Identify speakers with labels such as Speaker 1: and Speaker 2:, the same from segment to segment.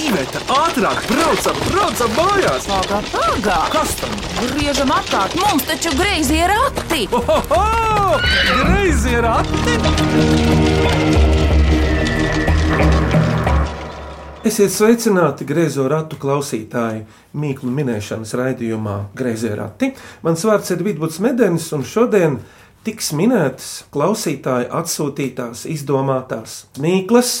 Speaker 1: Iveta, ātrāk, braucam, braucam mājās!
Speaker 2: Pagā, pagā!
Speaker 1: Kas tam?
Speaker 2: Griežam apkārt, mums taču greizi ir akti!
Speaker 1: Ohoho! Greizi ir ati!
Speaker 3: Esiet sveicināti griezo ratu klausītāji mīklu minēšanas raidījumā Griezie rati. Mans vārds ir Vidvuds Medenis, un šodien tiks minētas klausītāju atsūtītās, izdomātās mīklas.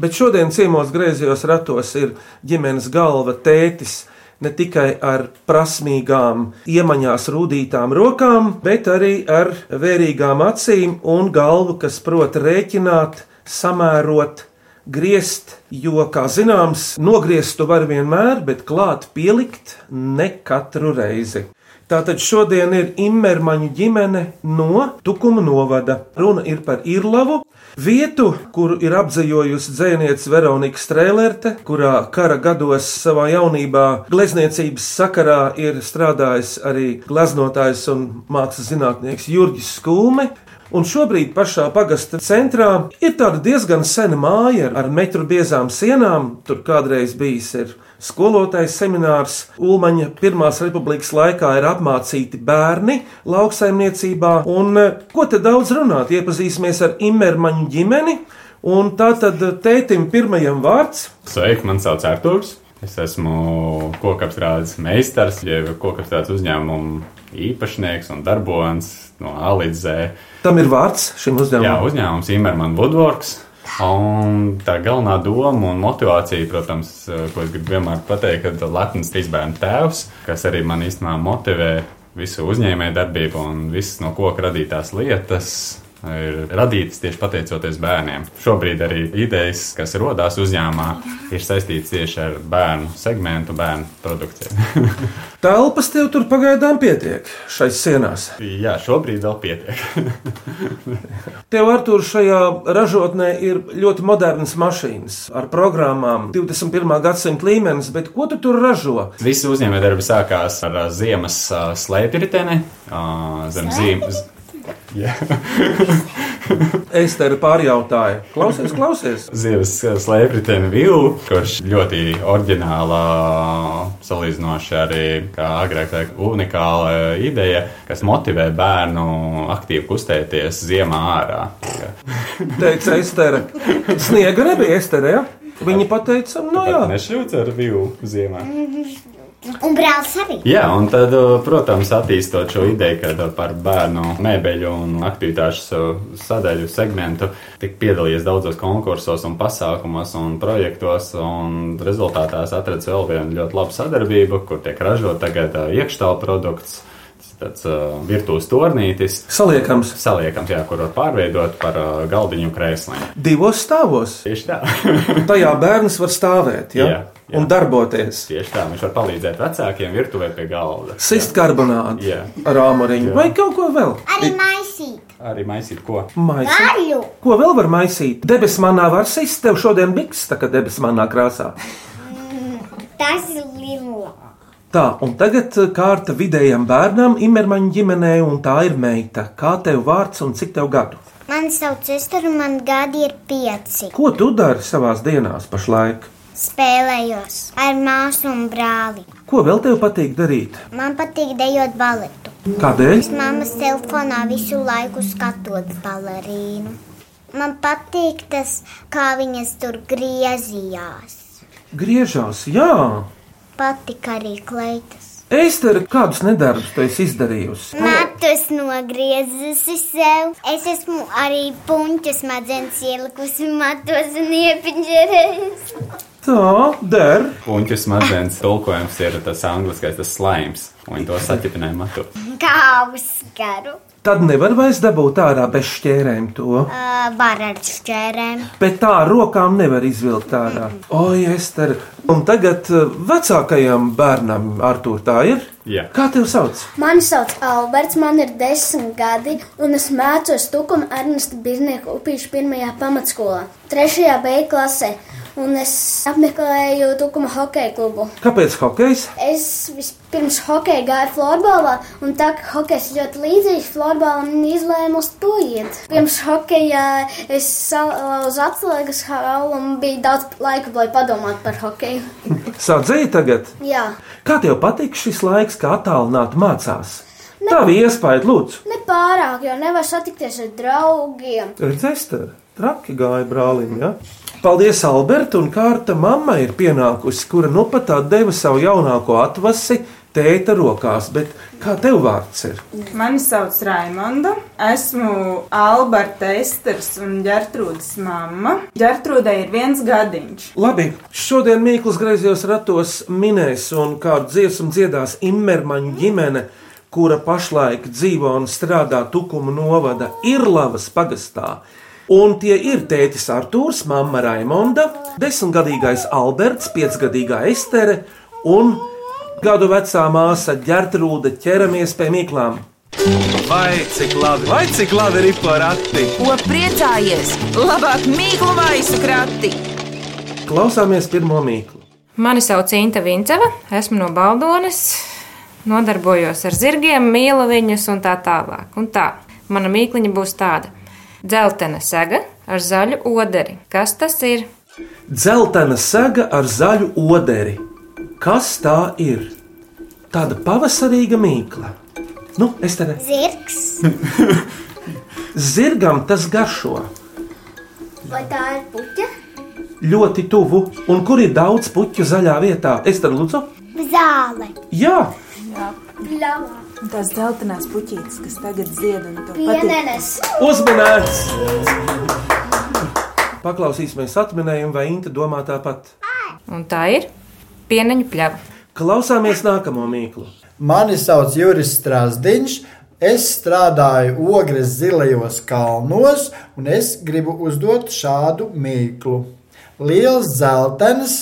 Speaker 3: Bet šodien ciemos griezījos ratos ir ģimenes galva tētis. Ne tikai ar prasmīgām, iemaņās rūtītām rokām, bet arī ar vērīgām acīm un galvu, kas prot rēķināt, samērot griezt, jo, kā zināms, nogriezt tu vari vienmēr, bet klāt pielikt ne katru reizi. Tātad šodien ir Imērmaņu ģimene no Tukuma novada. Runa ir par Irlavu, vietu, kuru ir apdzīvojusi dzēniece Veronika Strēlerte, kurā kara gados savā jaunībā glezniecības sakarā ir strādājis arī gleznotājs un mākslas zinātnieks Jurģis Skūme. Un šobrīd pašā pagasta centrā ir tāda diezgan sena māja ar metru biezām sienām. Tur kādreiz bijis ir skolotājs seminārs. Ulmaņa Pirmās republikas laikā ir apmācīti bērni lauksaimniecībā. Un eh, ko te daudz runāt? Iepazīsimies ar Imermaņu ģimeni. Un tā tad e, tētim pirmajam vārds.
Speaker 4: Sveiki, man sauc Arthurs. Es esmu kokapstrādes meistars, jeb kokapstrādes uzņēmuma īpašnieks un darbonis no A līdz Z.
Speaker 3: Tam ir vārds šim
Speaker 4: Jā,
Speaker 3: uzdevumam.
Speaker 4: uzņēmums Imants Woodworks. Un tā galvenā doma un motivācija, protams, eh, ko es gribu vienmēr pateikt, kad Latvijas trīs bērnu tēvs, kas arī man īstenībā motivē visu uzņēmēju darbību un visas no koka radītās lietas. Ir radītas tieši pateicoties bērniem. Šobrīd arī idejas, kas rodas uzņēmumā, ir saistītas tieši ar bērnu segmentu, bērnu produkciju.
Speaker 3: Telpas tev tur pagaidām pietiek šais sienās.
Speaker 4: Jā, šobrīd vēl pietiek.
Speaker 3: Tev, Artur, šajā ražotnē ir ļoti modernas mašīnas ar programmām, 21. gadsimta līmenis, bet ko tu tur ražo?
Speaker 4: Visi uzņēmējdarbi sākās ar ā, ziemas ā, slēpjriteni, ā, zem zīmes.
Speaker 3: Es te pārjautāju, klausies, klausies.
Speaker 4: Zivs slēpjriteni vilnu, kurš ļoti oriģināla, salīdzinoši arī kā agrāk tā unikāla ideja, kas motivē bērnu aktīvi kustēties ziemā ārā.
Speaker 3: Teica Estere, sniega nebija Estere. Ja? Viņa pateica, no jā,
Speaker 4: Nešļūts ar vilnu ziemā.
Speaker 5: Un brālis arī.
Speaker 4: Jā, un tad, uh, protams, attīstot šo ideju kad par bērnu mēbeļu un aktivitāšu sadaļu segmentu, tika piedalījies daudzos konkursos, un pasākumos un projektos, un rezultātā es atradu vēl vienu ļoti labu sadarbību, kur tiek ražot tagad ā, iekštālu produkts, tas tāds ā, virtuves tornītis.
Speaker 3: saliekams
Speaker 4: Saliekams, jā, kur var pārveidot par ā, galdiņu krēsliem.
Speaker 3: divos stāvos.
Speaker 4: Tieši tā.
Speaker 3: Tajā bērns var stāvēt ja?
Speaker 4: Jā, jā.
Speaker 3: un darboties.
Speaker 4: Tieši tā, viņš var palīdzēt vecākiem virtuvē pie galda.
Speaker 3: Sist karbonādu,
Speaker 4: Jā.
Speaker 3: rāmuriņu vai kaut ko vēl.
Speaker 5: Arī maisīt
Speaker 4: Arī maisīt ko?
Speaker 3: Maisi.
Speaker 5: gaļu.
Speaker 3: Ko vēl var maisīt? Debes manā var sist, tev šodien biks, tā kā debes manā krāsā.
Speaker 5: Tas ir lielāks.
Speaker 3: Tā, un tagad eh, kārta vidējam bērnam, imermaņa ģimenē, un tā ir meita. Kā tev vārds un cik tev gadu?
Speaker 5: Man sauc Ester, un man gadi ir pieci.
Speaker 3: Ko tu dari savās dienās pašlaik?
Speaker 5: Spēlējos ar māsu un brāli.
Speaker 3: Ko vēl tev patīk darīt?
Speaker 5: Man patīk dejot baletu.
Speaker 3: Kādēļ?
Speaker 5: Es mammas telefonā visu laiku skatos balerīnu. Man patīk tas, kā viņas tur griezījās.
Speaker 3: Griežās, jā.
Speaker 5: Patika arī kleitas.
Speaker 3: Eistera, kādus nedarbus tu esi izdarījusi?
Speaker 5: Matus nogriezusi sev. Es esmu arī puņķus smadzenes ielikusi matos un iepiņķerējusi.
Speaker 3: Tā, der.
Speaker 4: Puņķis mazliet tulkojums ir tas angliskais, tas slānis. Viņi to saķipināja matu.
Speaker 5: Kā uzskaru.
Speaker 3: Tad nevar vairs dabūt ārā bez šķērēm to.
Speaker 5: Uh, var ar šķērēm.
Speaker 3: Bet tā ar rokām nevar izvilkt ārā. Oi, Ester. Un tagad eh, vecākajam bērnam, Artur, tā ir?
Speaker 4: Jā.
Speaker 3: Kā tev sauc?
Speaker 6: Mani sauc Alberts, man ir desmit gadi, un es mācos Tukuma Ernesta Birznieka upīšu pirmajā pamatskolā, trešajā B klasē. un es apmeklēju Tukuma hokeja klubu.
Speaker 3: Kāpēc hokejs?
Speaker 6: Es vispirms hokeju gāju florbolā, un tā kā hokejs ļoti līdzīgs florbolam, izlēmu uz to iet. Pirms hokeja es salauzu atslēgas halu un bija daudz laika, lai padomātu par hokeju.
Speaker 3: Sādzēji tagad.
Speaker 6: Jā,
Speaker 3: Kā tev patīk šis laiks, kā attālināt mācās? Tavi iespēja, lūdzu,
Speaker 6: ne pārāk, jo nevar satikties ar draugiem.
Speaker 3: redzēs, tur traki gāja brālim. Ja? Paldies, Alberta un Kārta mamma ir pienākusi, kura nu pat tā deva savu jaunāko atvasi tēta rokās, bet kā tev vārds ir?
Speaker 7: Mani sauc Raimonda. Esmu Alberta Esters un Gertrūdas mamma. Gertrūdai ir viens gadiņš.
Speaker 3: Labi, šodien Mikls griezījos ratos minēs un kādu dziesmu dziedās Immermaņa ģimene, kura pašlaik dzīvo un strādā Tukuma novada Irlavas pagastā. Un tie ir tētis Artūrs, mamma Raimonda, desmitgadīgais Alberts, piecgadīgā Estere un gadu vecā māsa Gertrūda ķeramies pie mīklām.
Speaker 1: Vai cik labi, vai cik labi ir porati?
Speaker 2: Ko priecājies? Labāk mīklu maisu krati!
Speaker 3: Klausāmies pirmo mīklu.
Speaker 8: Mani sauc Inta Vinceva, esmu no Baldonas, nodarbojos ar zirgiem, mīlu viņus un tā tālāk. Un tā, mana mīkliņa būs tāda - dzeltena sega ar zaļu oderi. Kas tas ir?
Speaker 3: Zeltaina sega ar zaļu oderi. Kas tā ir? Tāda pavasarīga mīkla. Nu, es te redzu,
Speaker 5: Zirgs,
Speaker 3: zirgam tas garšo
Speaker 6: Vai tā ir puķa?
Speaker 3: ļoti tuvu, un kur ir daudz puķu zaļā vietā. Es te lūdzu,
Speaker 5: zāle,
Speaker 3: jā,
Speaker 6: Pļāvā.
Speaker 7: Tās dzeltenās puķītes, kas tagad zied un to
Speaker 6: Pienenes.
Speaker 3: uzmanīts! Paklausīsimies atminējumu, vai Inte domā tāpat.
Speaker 8: Un tā ir pieneņu pļava.
Speaker 3: Klausāmies nākamo mīklu.
Speaker 9: Mani sauc Juris Strasdiņš. Es strādāju ogres zilajos kalnos, un es gribu uzdot šādu mīklu. Liels zeltains,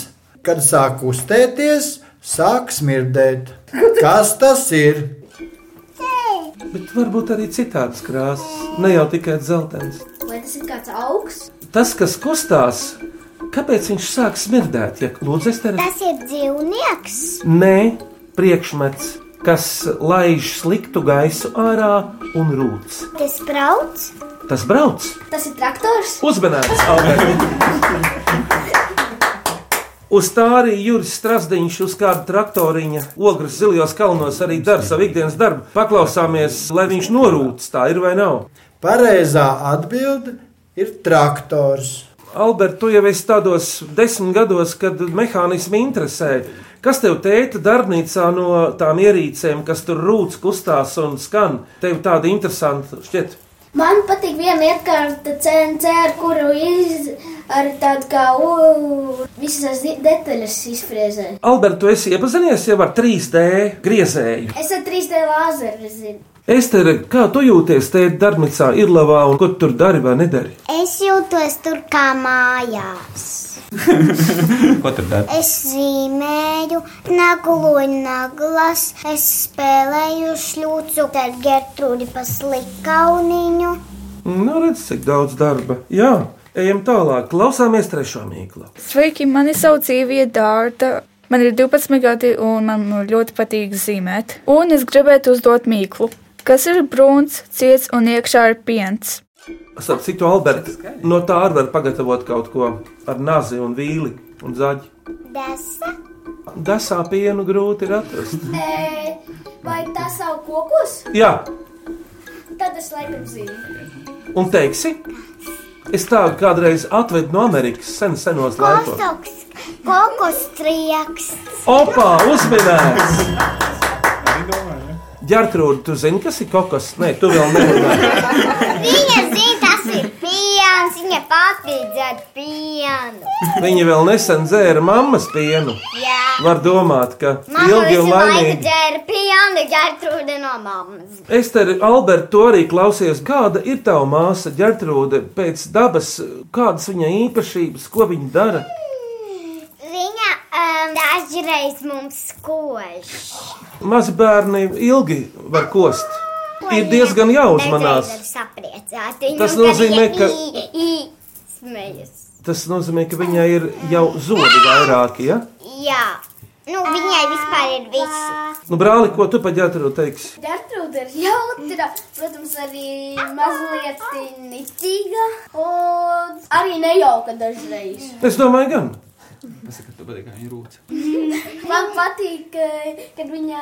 Speaker 9: kad sāk kustēties, sāk smirdēt. Kas tas ir?
Speaker 3: Bet varbūt arī citādas krāsas, ne jau tikai dzeltens.
Speaker 6: Vai tas ir kāds augs?
Speaker 3: Tas, kas kustās, kāpēc viņš sāk smirdēt? Ja lūdzu, es te redzu.
Speaker 5: tas ir dzīvnieks.
Speaker 3: Nē, priekšmets, kas laiž sliktu gaisu ārā un rūc.
Speaker 5: Tas brauc,
Speaker 3: Tas brauc
Speaker 6: Tas ir traktors.
Speaker 3: uzmanīgs, Alberts! Uz tā arī Juris Strasdeņš uz kāda traktoriņa, ogres zilajos kalnos arī dara savu ikdienas darbu. Paklausāmies, lai viņš norūc, tā ir vai nav.
Speaker 9: Pareizā atbilde ir traktors.
Speaker 3: Alberts, tu jau esi tādos desmit gados, kad mehānismi interesē. Kas tev tēta darbnīcā no tām ierīcēm, kas tur rūc, kustās un skan? Tev tāda interesanta šķiet.
Speaker 6: Man patīk viena iekārta CNC, ar kuru iz, ar tādu kā u, visas tās di- detaļas izfrēzē.
Speaker 3: Alberts, tu esi iepazinies jau ar 3D griezēju.
Speaker 6: Es ar 3D lāzeru zinu.
Speaker 3: Estere, kā tu jūties te darbnīcā, ir labā un ko tu tur dari vai nedari?
Speaker 5: es jūtos tur kā mājās.
Speaker 4: Ko tad dari?
Speaker 5: Es zīmēju, nagloju naglas, es spēlēju šļūcu ar Gertrūdi pa slikauniņu.
Speaker 3: Nu, redz, cik daudz darba. Jā, ejam tālāk, klausāmies trešā mīkla.
Speaker 10: Sveiki, mani sauc Ievija Dārta. Man ir 12 gadi, un man ļoti patīk zīmēt. Un es gribētu uzdot mīklu, kas ir brūns, ciets un iekšā ir piens.
Speaker 3: Starp citu, Alberts, no tā arī var pagatavot kaut ko ar nazi un vīli un zaļi.
Speaker 5: Desa,
Speaker 3: Dasā pienu grūti ir atrast.
Speaker 6: E, vai tas savu kokus?
Speaker 3: Jā,
Speaker 6: Tad es laikam zinu.
Speaker 3: un teiksi, es tādu kādreiz atvedu no Amerikas sen senos laikos.
Speaker 5: kosoks, kokostrieks.
Speaker 3: Opa, uzmanīgs! Gertrūda, tu zini, kas ir kokos? Nē, tu vēl nezini.
Speaker 5: Viņa zina, tas ir piens, viņa patīk dzert pienu.
Speaker 3: Viņa vēl nesen dzēra mammas pienu.
Speaker 5: Jā.
Speaker 3: Var domāt, ka
Speaker 5: Mamma
Speaker 3: ilgi
Speaker 5: visu
Speaker 3: un
Speaker 5: laiku
Speaker 3: laimīgi.
Speaker 5: dzēra pienu, Gertrūda no mammas.
Speaker 3: Es te arī, Alberta, to arī klausies. Kāda ir tava māsa Gertrūda pēc dabas? Kādas viņa īpašības, ko viņa dara?
Speaker 5: Viņa um, dažreiz mums skož.
Speaker 3: Mazi bērni ilgi var kost. Ir diezgan jāuzmanās.
Speaker 5: Sapriecāt,
Speaker 3: Tas nozīmē, ka-
Speaker 5: Īsmējas.
Speaker 3: Tas nozīmē, ka viņai ir jau zodi vairāki. Ja?
Speaker 5: Jā, nu viņai vispār ir visi.
Speaker 3: Nu, brāli, ko tu paģēri teiksi?
Speaker 6: Gertrūda ir jautra, protams, arī mazliet nitīga un arī nejauka dažreiz.
Speaker 3: Es domāju, gan.
Speaker 1: Pasaka, tu patīk, kā viņa rūc.
Speaker 6: Man patīk, eh, kad viņa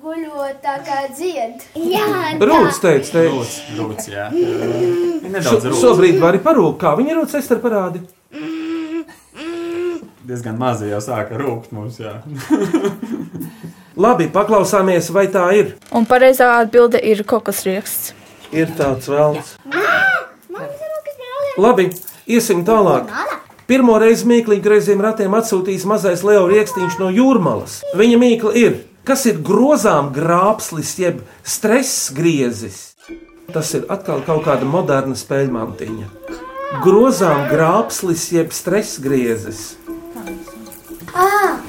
Speaker 6: guļo tā kā dzied. Jā,
Speaker 3: Rūts teica, teica.
Speaker 1: Rūc, rūc, jā.
Speaker 3: Šo,
Speaker 1: Nedaudz rūc.
Speaker 3: šobrīd var arī parūkt, kā viņa rūc, es te parādi.
Speaker 4: Diezgan mazi jau sāka rūkt mums, jā.
Speaker 3: Labi, paklausāmies, vai tā ir.
Speaker 10: Un pareizā atbilde ir kokosrieksts.
Speaker 3: Ir tāds vēlms.
Speaker 5: Man ir rokas brālē.
Speaker 3: Labi, iesim tālāk. Pirmo reizi mīkliņu greiziem ratiem atsūtījis mazais Leo Rieksniņš no jūrmalas. Viņa mīkla ir, kas ir grozām grābslis jeb stress griezis. Tas ir atkal kaut kāda moderna spēļu mantiņa. Grozām grābslis jeb stress griezis.
Speaker 6: ah,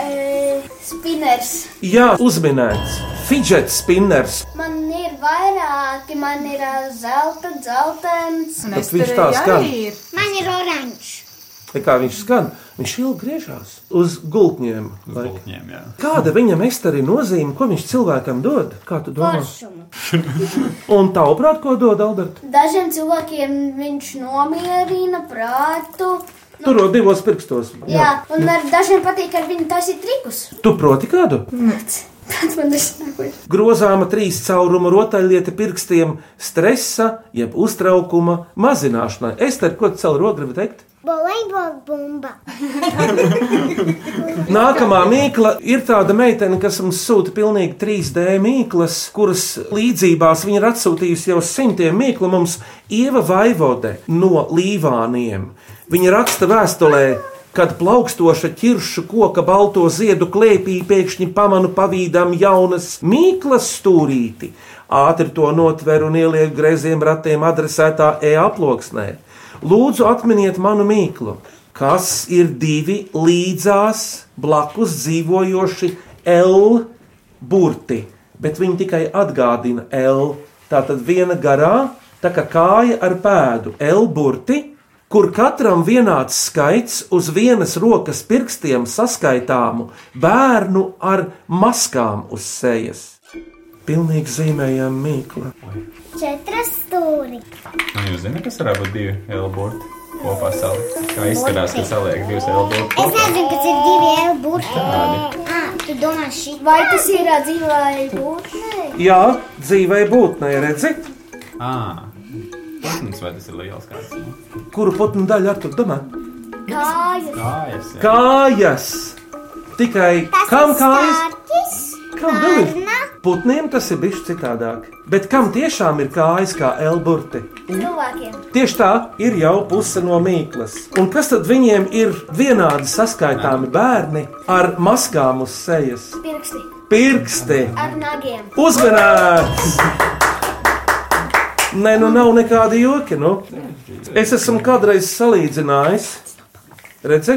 Speaker 6: e, spiners.
Speaker 3: Jā, uzminēts. Fidžet spinners.
Speaker 6: Man ir vairāki, man ir eh, zelta, dzeltens.
Speaker 7: Un
Speaker 3: Tad
Speaker 7: es
Speaker 3: viņš
Speaker 7: tur
Speaker 3: tā
Speaker 7: arī
Speaker 3: skan.
Speaker 7: ir.
Speaker 5: Man ir oranžs.
Speaker 3: Tā Kā viņš skan, viņš ilgi griežās uz gultņiem. laikam.
Speaker 4: Ņem, jā.
Speaker 3: Kāda viņam arī nozīme, ko viņš cilvēkam dod? Kā tu domā?
Speaker 5: Foršumu.
Speaker 3: Un tavuprāt, ko dod Alberts?
Speaker 6: Dažiem cilvēkiem viņš nomierina prātu.
Speaker 3: Tur jau divos pirkstos.
Speaker 6: Jā, un ar dažiem patīk, ka viņi taisīja trikus.
Speaker 3: Tu proti kādu?
Speaker 6: Tad man tas nāk.
Speaker 3: Grozāma trīs cauruma rotaļlieta pirkstiem stresa, jeb uztraukuma mazināšanai. Es te ko celu roku gribu teikt?
Speaker 5: Volejbola bumba.
Speaker 3: Nākamā mīkla ir tāda meitene, kas mums sūta pilnīgi 3D mīklas, kuras līdzībās viņa ir atsūtījusi jau simtiem mīklu. Mums Ieva Vaivode no Līvāniem. Viņa raksta vēstulē. Kad plaukstoša ķiršu koka balto ziedu klēpī pēkšņi pamanu pavīdām jaunas mīklas stūrīti, ātri to notveru un ielieku grēziem ratiem adresētā e-aploksnē. Lūdzu, atminiet manu mīklu, kas ir divi līdzās blakus dzīvojoši L burti, bet viņi tikai atgādina L. Tā tad viena garā, tā kā kāja ar pēdu, L burti, kur katram vienāds skaits uz vienas rokas pirkstiem saskaitāmu bērnu ar maskām uz sejas. Pilnīgi zīmējām mīklu.
Speaker 5: Četras stūri.
Speaker 4: Nu, jūs zināt, kas varētu būt divi elborti kopā salikt? Kā izskatās, ka saliek divas elborti
Speaker 5: Es
Speaker 4: kopā?
Speaker 5: nezinu, kas ir divi eiro burti. Ā, tu domā šī?
Speaker 6: Vai tas ir ā, dzīvai būtnei?
Speaker 3: Jā, dzīvē būtnē redzēt,
Speaker 4: Ā, protams, vai tas ir liels kāds? Nu,
Speaker 3: kuru putnu daļu ar to domā?
Speaker 6: Kājas.
Speaker 4: Kājas, jā.
Speaker 3: kājas. Tikai
Speaker 5: Tas
Speaker 3: kam
Speaker 5: ir
Speaker 3: kājas?
Speaker 5: stārķis,
Speaker 3: Kam vēl ir?
Speaker 5: Arna.
Speaker 3: Putniem tas ir bijis citādāk. Bet kam tiešām ir kājas kā elburti?
Speaker 6: Cilvēkiem.
Speaker 3: Tieši tā ir jau puse no mīklas. Un kas tad viņiem ir vienādi saskaitāmi bērni ar maskām uz sejas?
Speaker 6: Pirksti.
Speaker 3: Pirksti!
Speaker 6: Ar nagiem.
Speaker 3: Uzmanīgs! Nē, nu nav nekādi joki. Nu. Es esmu kādreiz salīdzinājis, redzi,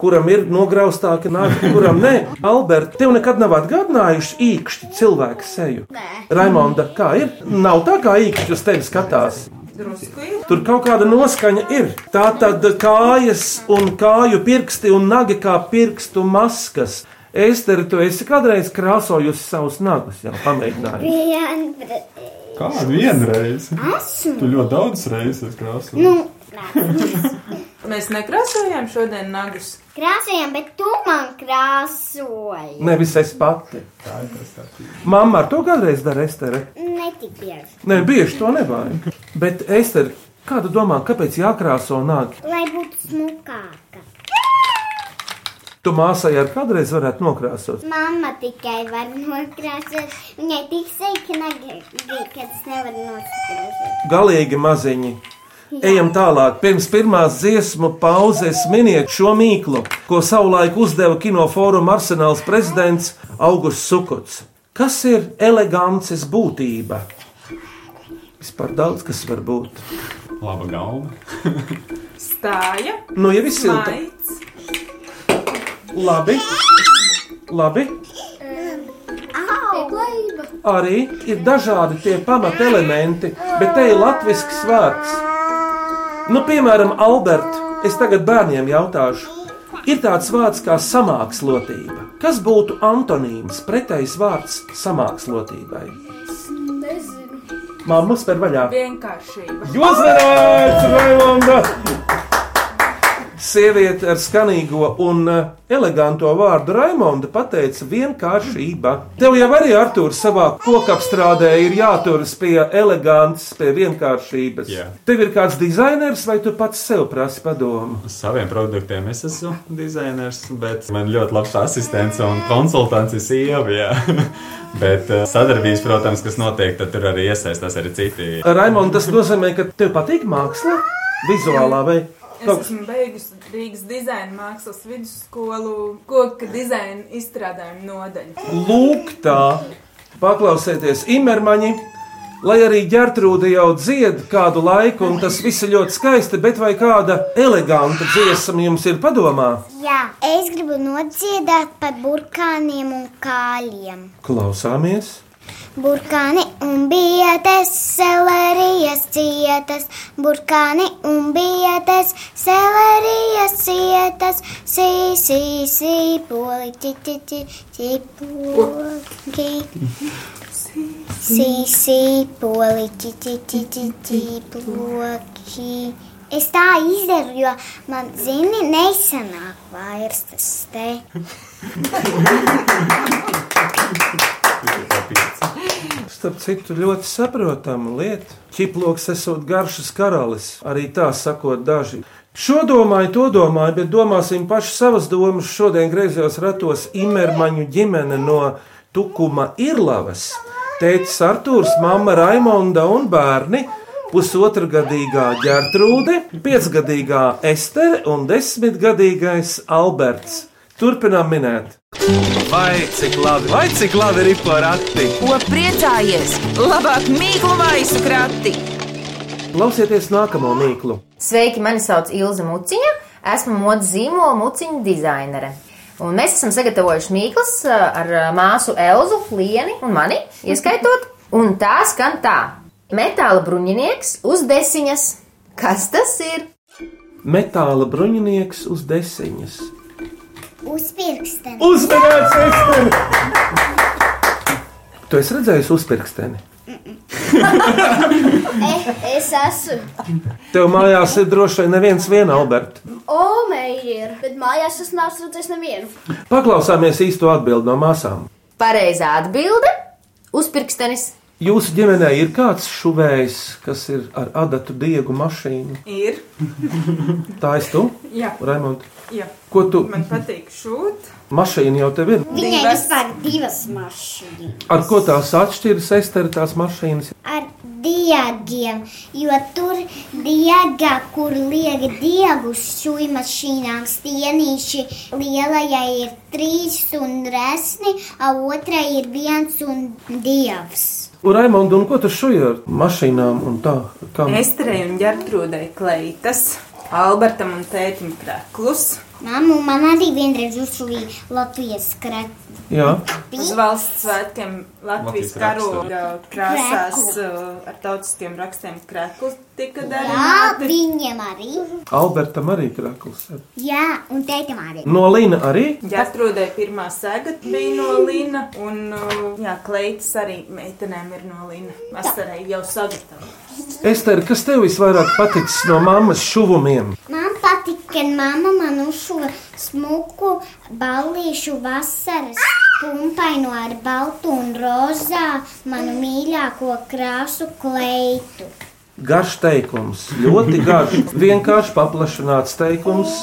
Speaker 3: kuram ir nogrieztāka nāga, kuram nē. Alberti, tev nekad nav atgādinājuši īkšķi cilvēku seju. Raimonda, kā ir? Nav tā, kā īkšķi uz tevi skatās.
Speaker 7: Drusku ir.
Speaker 3: Tur kaut kāda noskaņa ir. Tā tad kājas un kāju pirksti un nagi kā pirkstu maskas. Ester, tu esi kādreiz krāsojusi savus nagus, nu jau pamēģinājusi.
Speaker 5: Viena.
Speaker 4: Kādu vienreiz?
Speaker 5: Esmu.
Speaker 4: Tu ļoti daudz reizes esi krāsu.
Speaker 5: Nu,
Speaker 7: Mēs nekrāsojām šodien nagus.
Speaker 5: krāsojam, bet tu man krāsoji.
Speaker 3: Nevis es pati. Mamma ar to kādreiz dara Estere.
Speaker 5: Netik bieži.
Speaker 3: Nē, bieži to nevajag. Bet Ester, kā tu domā, kāpēc jākrāso nagi?
Speaker 5: Lai būtu smukāka.
Speaker 3: Tu māsai ar kādreiz varētu nokrāsot.
Speaker 5: Mamma tikai var nokrāsot. Viņai tik seika nagi, ka es nevaru nokrāsot.
Speaker 3: Galīgi maziņi. Ejam tālāk. Pirms pirmās dziesmu pauzes miniet šo mīklu, ko savulaik uzdeva kinofóruma arsenāls prezidents Augusts Sukuts. Kas ir elegances būtība? Vispār daudz kas var būt.
Speaker 4: Laba galva.
Speaker 7: Stāja,
Speaker 3: Nu, ja viss ir tā,
Speaker 7: maigs,
Speaker 3: labi, labi.
Speaker 6: Pieklājība.
Speaker 3: arī ir dažādi tie pamatelementi, bet te ir latviešu vārds. Nu, piemēram, Alberts, es tagad bērniem jautāšu, ir tāds vārds kā samākslotība. Kas būtu antonīms, pretējs vārds samākslotībai?
Speaker 6: Nezinu.
Speaker 3: Māmas par vaļā!
Speaker 7: Vienkāršība.
Speaker 3: Jūs varat, Raimonda! Sieviete ar skanīgo un eh, eleganto vārdu Raimonda pateica vienkāršība. Tev jau arī, Artur, savā kokapstrādē ir jāturas pie elegants, pie vienkāršības.
Speaker 4: Jā.
Speaker 3: Tev ir kāds dizainers vai tu pats sev prasi padomu?
Speaker 4: Saviem produktiem es esmu dizainers, bet man ļoti labs asistents un konsultants ir sieva. jā. bet eh, sadarbības, protams, kas notiek, tad tur arī iesaistās arī citi.
Speaker 3: Raimonda, tas nozīmē, ka tev patīk māksla, vizuālā vai
Speaker 7: Es
Speaker 3: kaut kas
Speaker 7: esmu beigusi Rīgas dizaina mākslas vidusskolu, koka dizaina izstrādājuma nodaļu.
Speaker 3: Lūk, tā paklausieties, imermaņi. Lai arī ģērtrūde jau dzied kādu laiku, un tas viss ir ļoti skaisti, bet vai kāda eleganta dziesma jums ir padomā?
Speaker 5: Jā, es gribu nodziedāt par burkāniem un kāļiem.
Speaker 3: Klausāmies!
Speaker 5: Burkāni un bietes, selerijas cietas, burkāni un bietes, selerijas cietas, sī, sī, sī, poli, ci, ci, ci, ci, poli, sī, sī, poli, ci, ci, ci, ci, ci, poli. Es tā izdaru, jo man, zini, neizsanāk vairs tas te.
Speaker 3: Starp citu, ļoti saprotama lieta. Čiploks esot garšas karalis, arī tā sakot daži. Šo domāju, to domāju, bet domāsim paši savas domas. Šodien griezos ratos Imermaņu ģimene no Tukuma Irlavas. Tētis Artūrs, mamma Raimonda un bērni. Pusotra gadīgā ģērtrūde, piecgadīgā Estere un desmitgadīgais Alberts. Turpinām minēt.
Speaker 1: Vai cik labi, vai cik labi ir porakti?
Speaker 2: Ko priecājies? Labāk mīklu maisu krati!
Speaker 3: Klausieties nākamo mīklu.
Speaker 11: Sveiki, mani sauc Ilza Muciņa. Esmu modes zīmola muciņa dizainere. Un mēs esam sagatavojuši mīklas ā, ar ā, māsu Elzu, Lienu un mani ieskaitot. Un tā skan tā: metāla bruņinieks uz desiņas. Kas tas ir?
Speaker 3: Metāla bruņinieks uz desiņas.
Speaker 5: Uz pirkstiem.
Speaker 3: Uzmanīgs, Ester! Tu esi redzējis uzpirksteni.
Speaker 6: Eh, Es esmu
Speaker 3: Tev mājās ir droši vien neviens, viena Alberta.
Speaker 6: Omeja, bet mājās es neesmu redzējis nevienu.
Speaker 3: Paklausāmies īsto atbildi no māsām.
Speaker 11: Pareizā atbilde - uzpirkstenis.
Speaker 3: Jūsu ģimenē ir kāds šuvējs, kas ir ar adatu diegu mašīnu.
Speaker 7: Ir,
Speaker 3: Tā es tu,
Speaker 7: jā,
Speaker 3: Raimond.
Speaker 7: jā.
Speaker 3: Ko tu?
Speaker 7: Man patīk šūt.
Speaker 3: Mašīna jau tev ir.
Speaker 5: Viņai
Speaker 7: Divas.
Speaker 5: vispār divas mašīnas.
Speaker 3: Ar ko tās atšķiras, Ester, tās mašīnas?
Speaker 5: Ar diegiem, jo tur diegā, kur liek diegus šūnu mašīnām, stienīši lielajai ir trīs un resni, a otrai ir viens un dievs.
Speaker 3: Un, Raimond, un ko tu šuji ar mašīnām un tā? Kam?
Speaker 7: Esterei un ģertrūdei kleitas, Albertam un tētim kreklus,
Speaker 5: Māmu man arī vienreiz uzsūīja Latvijas krāpstu.
Speaker 3: Jā.
Speaker 7: uz valsts svētkiem
Speaker 4: Latvijas
Speaker 7: Latvijas karoga krāsās uh, ar tautiskiem rakstiem kreklus tika
Speaker 5: Jā,
Speaker 7: darīti.
Speaker 5: viņiem arī.
Speaker 3: Albertam arī krakls.
Speaker 5: Jā, un tētim arī.
Speaker 3: No Līna arī?
Speaker 7: Ģertrūdei pirmā sēga bija no Lina, un uh, jā, kleitas arī meitenēm ir no Lina. Vasarai jau sagatavo.
Speaker 3: Ester, kas tev visvairāk patiks no mammas šuvumiem?
Speaker 5: Man patīk, ka mamma man uzšuva smuku ballīšu vasaras pumpainu ar baltu un rozā manu mīļāko krāsu kleitu.
Speaker 3: Garš teikums, ļoti garš, vienkārši paplašināts teikums.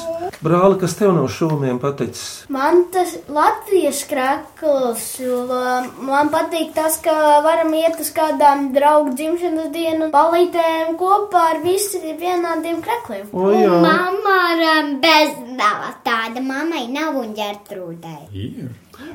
Speaker 3: Brāli, kas tev no šūmiem paticis?
Speaker 6: Man tas Latvijas krāklis, jo man patīk tas, ka varam iet uz kādām draugu dzimšanas dienu palītēm kopā ar visiem vienādiem krākliem.
Speaker 3: O, jā.
Speaker 5: Mamma ar um, bezdāvā tāda mammai nav un ģērtrūdai.
Speaker 4: Ir.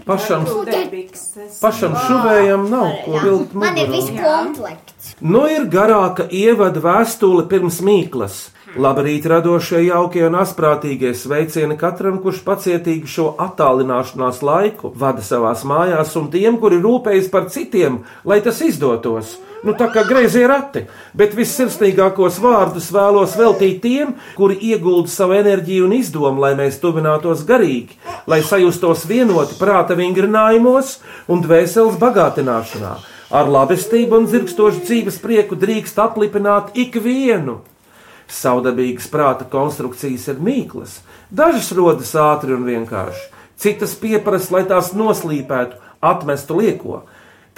Speaker 3: Pašam,
Speaker 7: Ģertrūdei bikses.
Speaker 3: pašam šuvējam nav ko vilkt.
Speaker 5: Man ir
Speaker 3: mugurā.
Speaker 5: viss komplekts.
Speaker 3: Nu ir garāka ievada vēstule pirms mīklas. Labrīt, radošie, jaukie un asprātīgie sveicieni katram, kurš pacietīgi šo attālināšanās laiku vada savās mājās, un tiem, kuri rūpējas par citiem, lai tas izdotos. Nu, tā kā greizi ir rati, bet vissirsnīgākos vārdus vēlos veltīt tiem, kuri iegulda savu enerģiju un izdomu, lai mēs tuvinātos garīgi, lai sajustos vienoti prāta vingrinājumos un dvēseles bagātināšanā. Ar labestību un zirgstošu dzīves prieku drīkst aplipināt ikvienu. Saudabīgas prāta konstrukcijas ir mīklas, dažas rodas ātri un vienkārši, citas pieprasa, lai tās noslīpētu, atmestu lieko.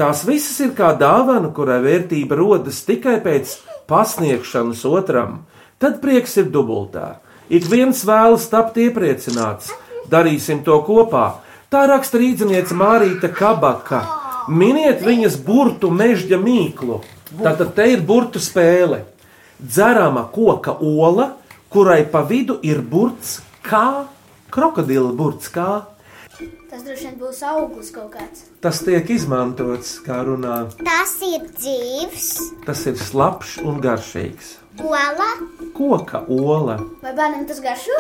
Speaker 3: Tās visas ir kā dāvana, kurai vērtība rodas tikai pēc pasniegšanas otram. Tad prieks ir dubultā. Ik viens vēlas tapt iepriecināts, darīsim to kopā. Tā raksta rīzniece Mārīta Kabaka. Miniet viņas burtu meža mīklu. Tātad te ir burtu spēle dzerama koka ola, kurai pa vidu ir burts kā krokodila burts. Kā.
Speaker 6: Tas droši vien būs augurs kaut kāds.
Speaker 3: Tas tiek izmantots kā runā.
Speaker 5: Tas ir dzīves,
Speaker 3: Tas ir slapjš un garšīgs.
Speaker 5: ola,
Speaker 3: Koka ola.
Speaker 6: Vai bērnam tas garšo?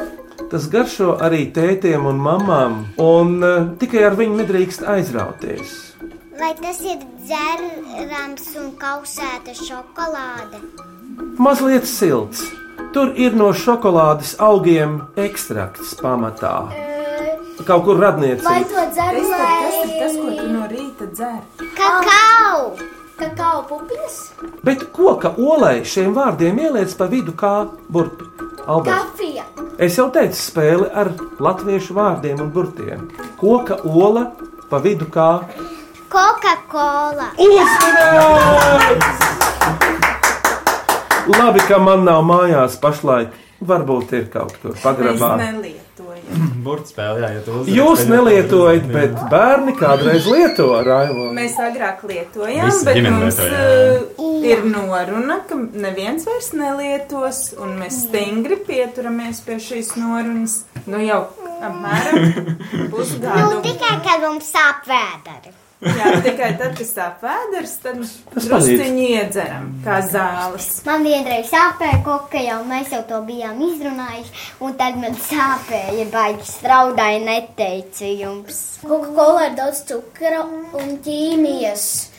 Speaker 3: Tas garšo arī tētiem un mamām, un uh, tikai ar viņu nedrīkst aizrauties.
Speaker 5: vai tas ir dzerams un kausēta šokolāde.
Speaker 3: Mazliet silts. Tur ir no šokolādes augiem ekstrakts pamatā. Kaut kur
Speaker 6: Vai
Speaker 3: radniecība.
Speaker 6: to dzeru?
Speaker 7: Ester,
Speaker 6: vai-
Speaker 7: Tas ir tas, ko tu no rīta dzer.
Speaker 6: Kakao! Kakao pupiņas?
Speaker 3: Bet koka olai šiem vārdiem ieliec pa vidu kā burtu. Albert,
Speaker 6: Kafija!
Speaker 3: es jau teicu, spēle ar latviešu vārdiem un burtiem. Koka ola pa vidu kā
Speaker 5: Coca-Cola.
Speaker 3: uzmanīgs. Labi, ka man nav mājās pašlaik. Varbūt ir kaut kur pagrabā.
Speaker 7: Mēs nelietojam.
Speaker 4: Burbuļs spēlē, jā, ja tu uzvari,
Speaker 3: Jūs
Speaker 4: tad-
Speaker 3: nelietojat, bet bērni kādreiz lieto raimonu.
Speaker 7: Mēs agrāk lietojām,
Speaker 3: Visa
Speaker 7: bet
Speaker 3: ģimene
Speaker 7: mums
Speaker 3: lietoja, jā.
Speaker 7: uh, ir noruna, ka neviens vairs nelietos, un mēs stingri pieturamies pie šīs norunas. Nu jau apmēram
Speaker 5: Nu,
Speaker 7: pusgadu.
Speaker 5: tikai kad mums sāp vēderi.
Speaker 7: Jā, tikai tad, kad stāv vēders, tad mēs
Speaker 5: Tas
Speaker 7: drusciņi iedzeram, kā zāles.
Speaker 5: Man vienreiz sāpēja koka, jau mēs jau to bijām izrunājuši, un tad man sāpēja, baigi straudāja, neteicu jums.
Speaker 6: Coca-Cola ir daudz cukura un ķīmijas.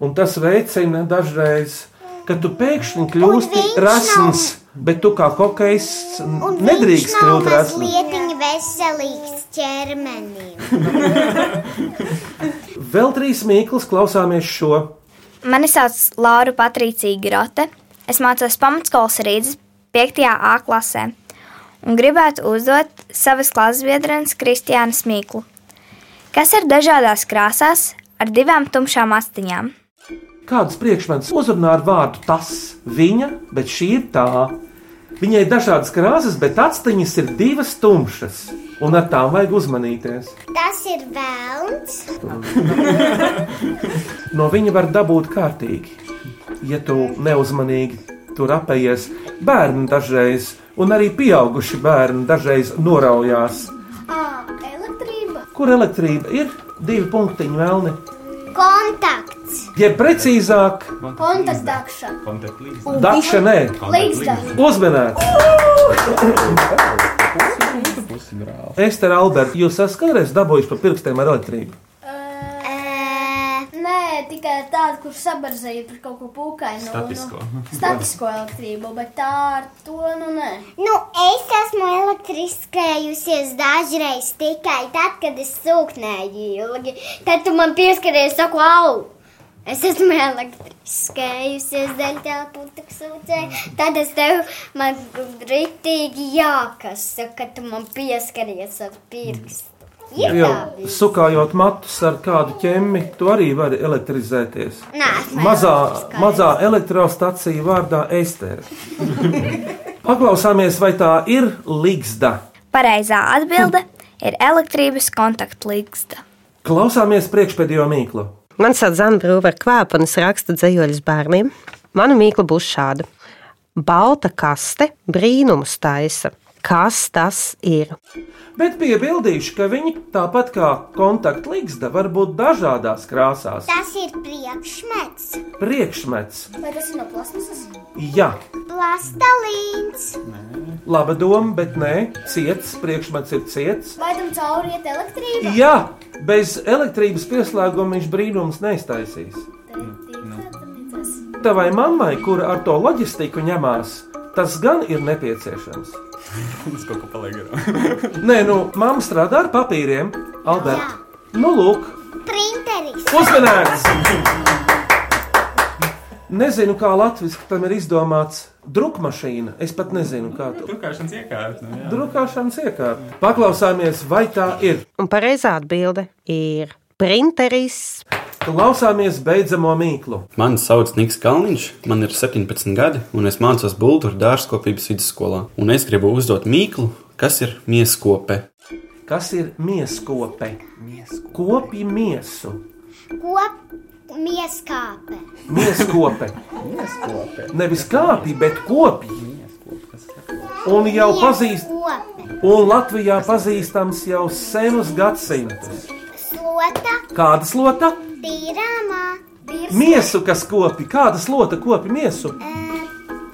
Speaker 3: Un tas veicina dažreiz, ka tu pēkšņi kļūsti
Speaker 5: viņš
Speaker 3: rasns, bet tu kā hokejs nedrīkst
Speaker 5: nav
Speaker 3: kļūt rasns.
Speaker 5: mazliet veselīgs ķermenim.
Speaker 3: Vēl trīs mīklas klausāmies šo.
Speaker 12: Mani sauc Laura Patricija Grote. Es mācos pamatskolas rītas 5. A klasē un gribētu uzdot savas klases biedrenes Kristiānas Mīklu, kas ir dažādās krāsās ar divām tumšām astiņām.
Speaker 3: Kādas priekšmetus uzrunā ar vārdu tas, viņa, bet šī ir tā. Viņai ir dažādas krāsas, bet atsteņas ir divas tumšas, un ar tām vajag uzmanīties.
Speaker 5: Tas ir vēlns,
Speaker 3: No viņa var dabūt kārtīgi, ja tu neuzmanīgi tur apējies. Bērni dažreiz, un arī pieauguši bērni dažreiz noraujās,
Speaker 6: Elektrība.
Speaker 3: kur elektrība ir divi punktiņi vēlni.
Speaker 5: kontakts,
Speaker 3: Ja precīzāk,
Speaker 6: Kontaktdakša.
Speaker 3: dakša nē,
Speaker 6: Līgzdakša.
Speaker 3: uzmanēt! Ester, Alberta, jūs esat kādreiz dabūjuši pa pirkstiem ar elektrību?
Speaker 6: Nē, tikai tāda, kur sabarzēja par kaut ko pūkainu. nu,
Speaker 3: Statisko.
Speaker 6: Statisko elektrību, bet tā ar to, nu nē.
Speaker 5: Nu, es esmu elektriskējusies dažreiz tikai tad, kad es sūknēju ilgi. Tad tu man pieskaries, saku, au! Es esmu elektriskējusies daļai telpūtas sūcēji. Tad es tev man rītīgi jākasa, ka tu man pieskaries ar pirkstu. Ir
Speaker 3: Jau
Speaker 5: tā bijis.
Speaker 3: sukājot matus ar kādu ķemmi, tu arī vari elektrizēties.
Speaker 5: Nē, esmu
Speaker 3: Mazā,
Speaker 5: elektriskējusies.
Speaker 3: mazā elektrostacija vārdā Estere. Paklausāmies, vai tā ir Ligzda.
Speaker 12: Pareizā atbilde ir elektrības kontaktlīgsta.
Speaker 3: Klausāmies priekšpēdējo mīklu.
Speaker 13: Man sauc Zana Brūvera Kvēpa, un es rakstu dzējoļus bērniem. Mana mīkla būs šāda. Balta kaste brīnums taisa. Kas tas ir?
Speaker 3: Bet piebildīšu, ka viņi tāpat kā kontaktlīgzda var būt dažādās krāsās.
Speaker 5: Tas ir priekšmets,
Speaker 3: Priekšmets,
Speaker 6: Vai tas ir no plasmasas?
Speaker 3: jā,
Speaker 5: plastelīns.
Speaker 3: laba doma, bet nē, ciets, priekšmets ir ciets.
Speaker 6: Vai tam cauri iet elektrība?
Speaker 3: Jā, bez elektrības pieslēguma viņš brīnums neiztaisīs.
Speaker 6: Tas
Speaker 3: Tavai mammai, kura ar to loģistiku ņemās, tas gan ir nepieciešams.
Speaker 4: Mums kaut kā paliek garām.
Speaker 3: Nē, nu, mamma strādā ar papīriem, Alberta. Nu, lūk,
Speaker 5: Printeris.
Speaker 3: uzmanīgs! Nezinu, kā latviešu tam ir izdomāts drukmašīna. Es pat nezinu, kā to
Speaker 4: Drukāšanas iekārta. nu jā.
Speaker 3: drukāšanas iekārta. Paklausāmies, vai tā ir.
Speaker 13: Un pareizā atbilde ir printeris.
Speaker 3: Klausāmies beidzamo mīklu.
Speaker 14: Mani sauc Niks Kalniņš, man ir 17 gadi, un es mācos Bultūru dārzkopības vidusskolā. Un es gribu uzdot mīklu, kas ir mieskope.
Speaker 3: Kas ir mieskope? Kopi miesu.
Speaker 5: Ko mieskāpe?
Speaker 3: Mieskope.
Speaker 5: Mieskope.
Speaker 3: Nevis kāpī, bet kopi. Un jau pazīst,
Speaker 5: Kope.
Speaker 3: un Latvijā pazīstams jau senus gadsimtus.
Speaker 5: Slota.
Speaker 3: Kāda slota?
Speaker 5: Tīrāmā.
Speaker 3: Miesu, kas kopi, kāda slota kopi miesu?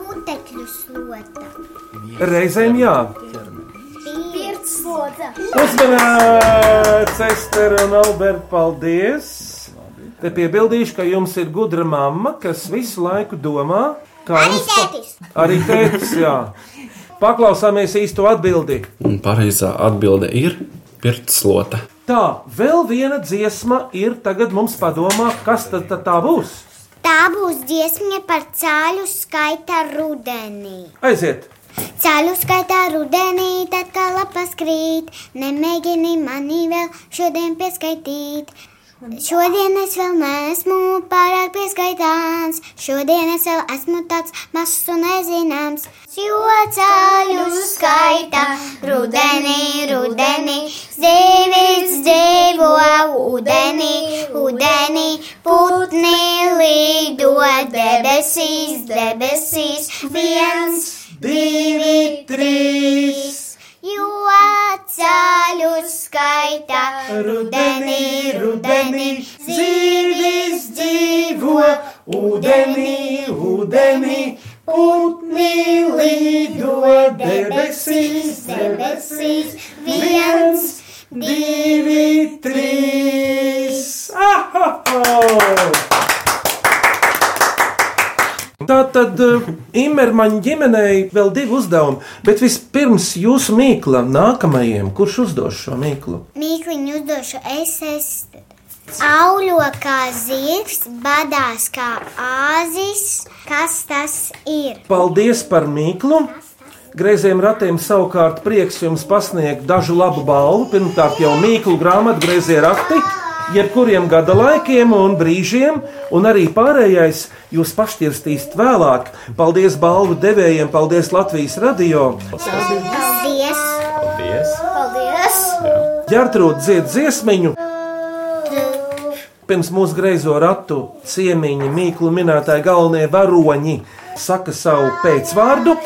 Speaker 5: Putekļu slota.
Speaker 3: Reizēm jā.
Speaker 5: Pirts slota.
Speaker 3: Uzmanīts, Ester un Alberta, paldies! Te piebildīšu, ka jums ir gudra mamma, kas visu laiku domā, kā jums
Speaker 5: Tētis.
Speaker 3: arī teicis, jā. Paklausāmies īsto atbildi.
Speaker 14: Un pareizā atbilde ir pirtslota.
Speaker 3: Tā, vēl viena dziesma ir tagad mums padomā, kas tad tad tā būs.
Speaker 5: Tā būs dziesma par cāļu skaita rudenī.
Speaker 3: Aiziet!
Speaker 5: Cēlu skaitā rudenī, tad kā lapas krīt, nemēģini mani vēl šodien pieskaitīt. Šodien es vēl neesmu pārāk pieskaitāms, šodien es vēl esmu tāds mazs un nezināms. Jo cēlu skaitā rudenī, rudenī, zīvis dzīvo ūdenī, ūdenī, putni lido debesīs, debesīs viens divi, trīs. Jo ceļu skaitā rudenī, rudenī, zīvis dzīvo
Speaker 3: Udenī, udenī,
Speaker 5: putni lido debesīs, debesīs, viens,
Speaker 3: divi, trīs! Ahaho! Tā tad eh, Imermaņa ģimenei vēl divi uzdevumi, bet vispirms jūsu mīklam, nākamajam, kurš uzdos šo mīklu?
Speaker 5: Mīkliņu uzdošu es esmu. Auļo kā zirgs, badās kā āzis. Kas tas ir?
Speaker 3: Paldies par mīklu! Greizējiem ratiem savukārt prieks jums pasniegt dažu labu balvu. Pirmkārt, jau mīklu grāmatu grazēji rati, jebkuriem gada laikiem un brīžiem, un arī pārējais jūs pašķirstīsiet vēlāk. Paldies balvu devējiem, paldies Latvijas radio!
Speaker 5: Paldies!
Speaker 4: Paldies!
Speaker 5: Paldies!
Speaker 3: Gertrūda dzied dziesmiņu! Pirms mūsu greizo ratu ciemiņi, mīklu minētāji galvenie varoņi saka savu pēcvārdu.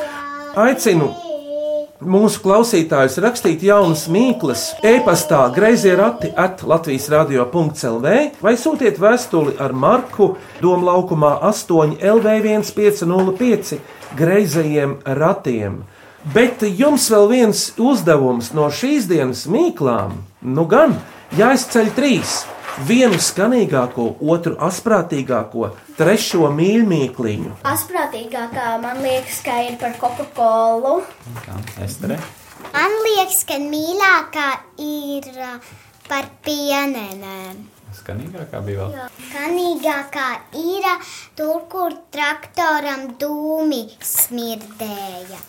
Speaker 3: Aicinu mūsu klausītājus rakstīt jaunas mīklas, e-pastā greizie rati at Latvijas radio. CELV vai sūtiet vēstuli ar marku Doma laukumā 8 LV1505 greizajiem ratiem. Bet jums vēl viens uzdevums no šīs dienas mīklām. Nu gan, jāizceļ trīs. Vienu skanīgāko, otru asprātīgāko, trešo mīļmīkliņu.
Speaker 6: Asprātīgākā man liekas, ka ir par Coca-Colu.
Speaker 5: Man liekas, ka mīļākā ir ā, par pienenēm.
Speaker 4: Skanīgākā bija vēl.
Speaker 5: Kanīgākā ir ā, tur, kur traktoram dūmi smirdēja.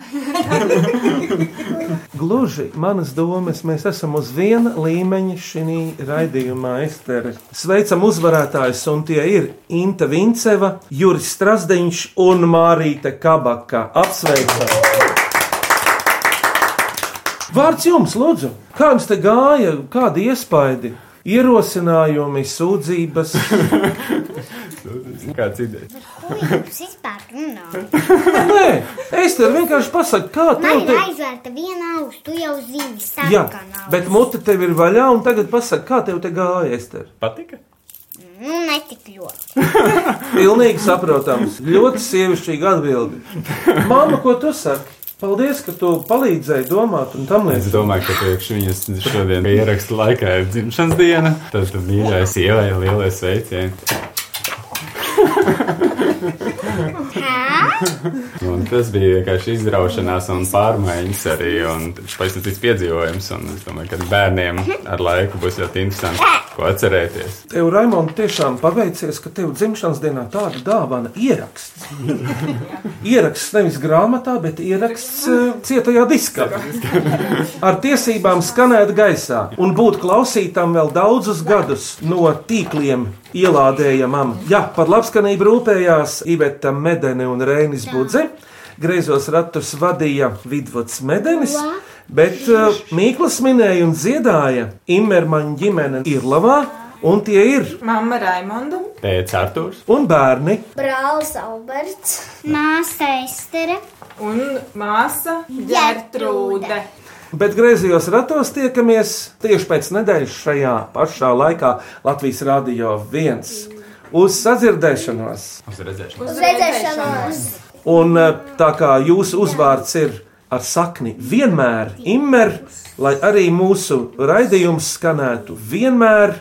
Speaker 3: Gluži manas domas, mēs esam uz viena līmeņa šī raidījumā, Estere. Sveicam uzvarētājus, un tie ir Inte Vinceva, Juris Strasdeņš un Mārīte Kabaka. Apsveicam! Vārds jums, Lūdzu, kā jums te gāja, kādi iespaidi, ierosinājumi, sūdzības?
Speaker 4: Kāds ideja?
Speaker 5: Ko jūs vispār runājat?
Speaker 3: Nē, es tev vienkārši pasaku, kā
Speaker 5: Man
Speaker 3: tev
Speaker 5: ir
Speaker 3: te.
Speaker 5: aizvērta viena auss, tu jau zini,
Speaker 3: Jā,
Speaker 5: stāvoklis.
Speaker 3: bet mute tev ir vaļā, un tagad pasaki, kā tev te gāja, Ester?
Speaker 4: Patika?
Speaker 5: Nu, netik ļoti.
Speaker 3: Pilnīgi saprotams. Ļoti sievišķīga atbilde. Māma, ko tu saki? Paldies, ka tu palīdzēji domāt un tam
Speaker 4: Es
Speaker 3: līdzīgi.
Speaker 4: domāju, ka priekš viņas šodien ierakstu laikā ir dzimšanas diena. Tad mīļai sievai lielais sveiciens. Un tas bija vienkārši izraušanās un pārmaiņas arī. Un tas bija tas piedzīvojums. Un es domāju, ka bērniem ar laiku būs ļoti interesanti, ko atcerēties.
Speaker 3: Tev, Raimond, tiešām paveicies, ka tev dzimšanas dienā tāda dāvana ieraksts. ieraksts nevis grāmatā, bet ieraksts eh, cietajā diskā. Ar tiesībām skanēt gaisā un būt klausītam vēl daudzus gadus no tīkliem. Ielādējamam, ja par labskanību rūpējās Iveta Medene un Rēnis Budze, greizos ratus vadīja Vidvuds Medenis, bet uh, Mīklas minēja un dziedāja Imermaņa ģimene Irlavā, un tie ir
Speaker 7: Mama Raimonda.
Speaker 4: Pēc Artūrs
Speaker 3: un bērni.
Speaker 6: Brālis Alberts,
Speaker 5: māsa Estere
Speaker 7: un māsa Gertrūde.
Speaker 3: Bet griezījos ratos tiekamies tieši pēc nedēļas šajā pašā laikā Latvijas Rādio 1. Uz sadzirdēšanos!
Speaker 4: Uz redzēšanu!
Speaker 6: uz redzēšanos!
Speaker 3: Un eh, tā kā jūsu uzvārds ir ar sakni vienmēr, immer, lai arī mūsu raidījums skanētu vienmēr,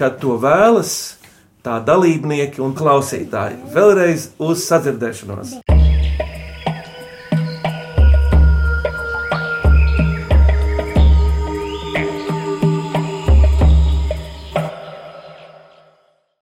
Speaker 3: kad to vēlas tā dalībnieki un klausītāji. Vēlreiz uz sadzirdēšanos!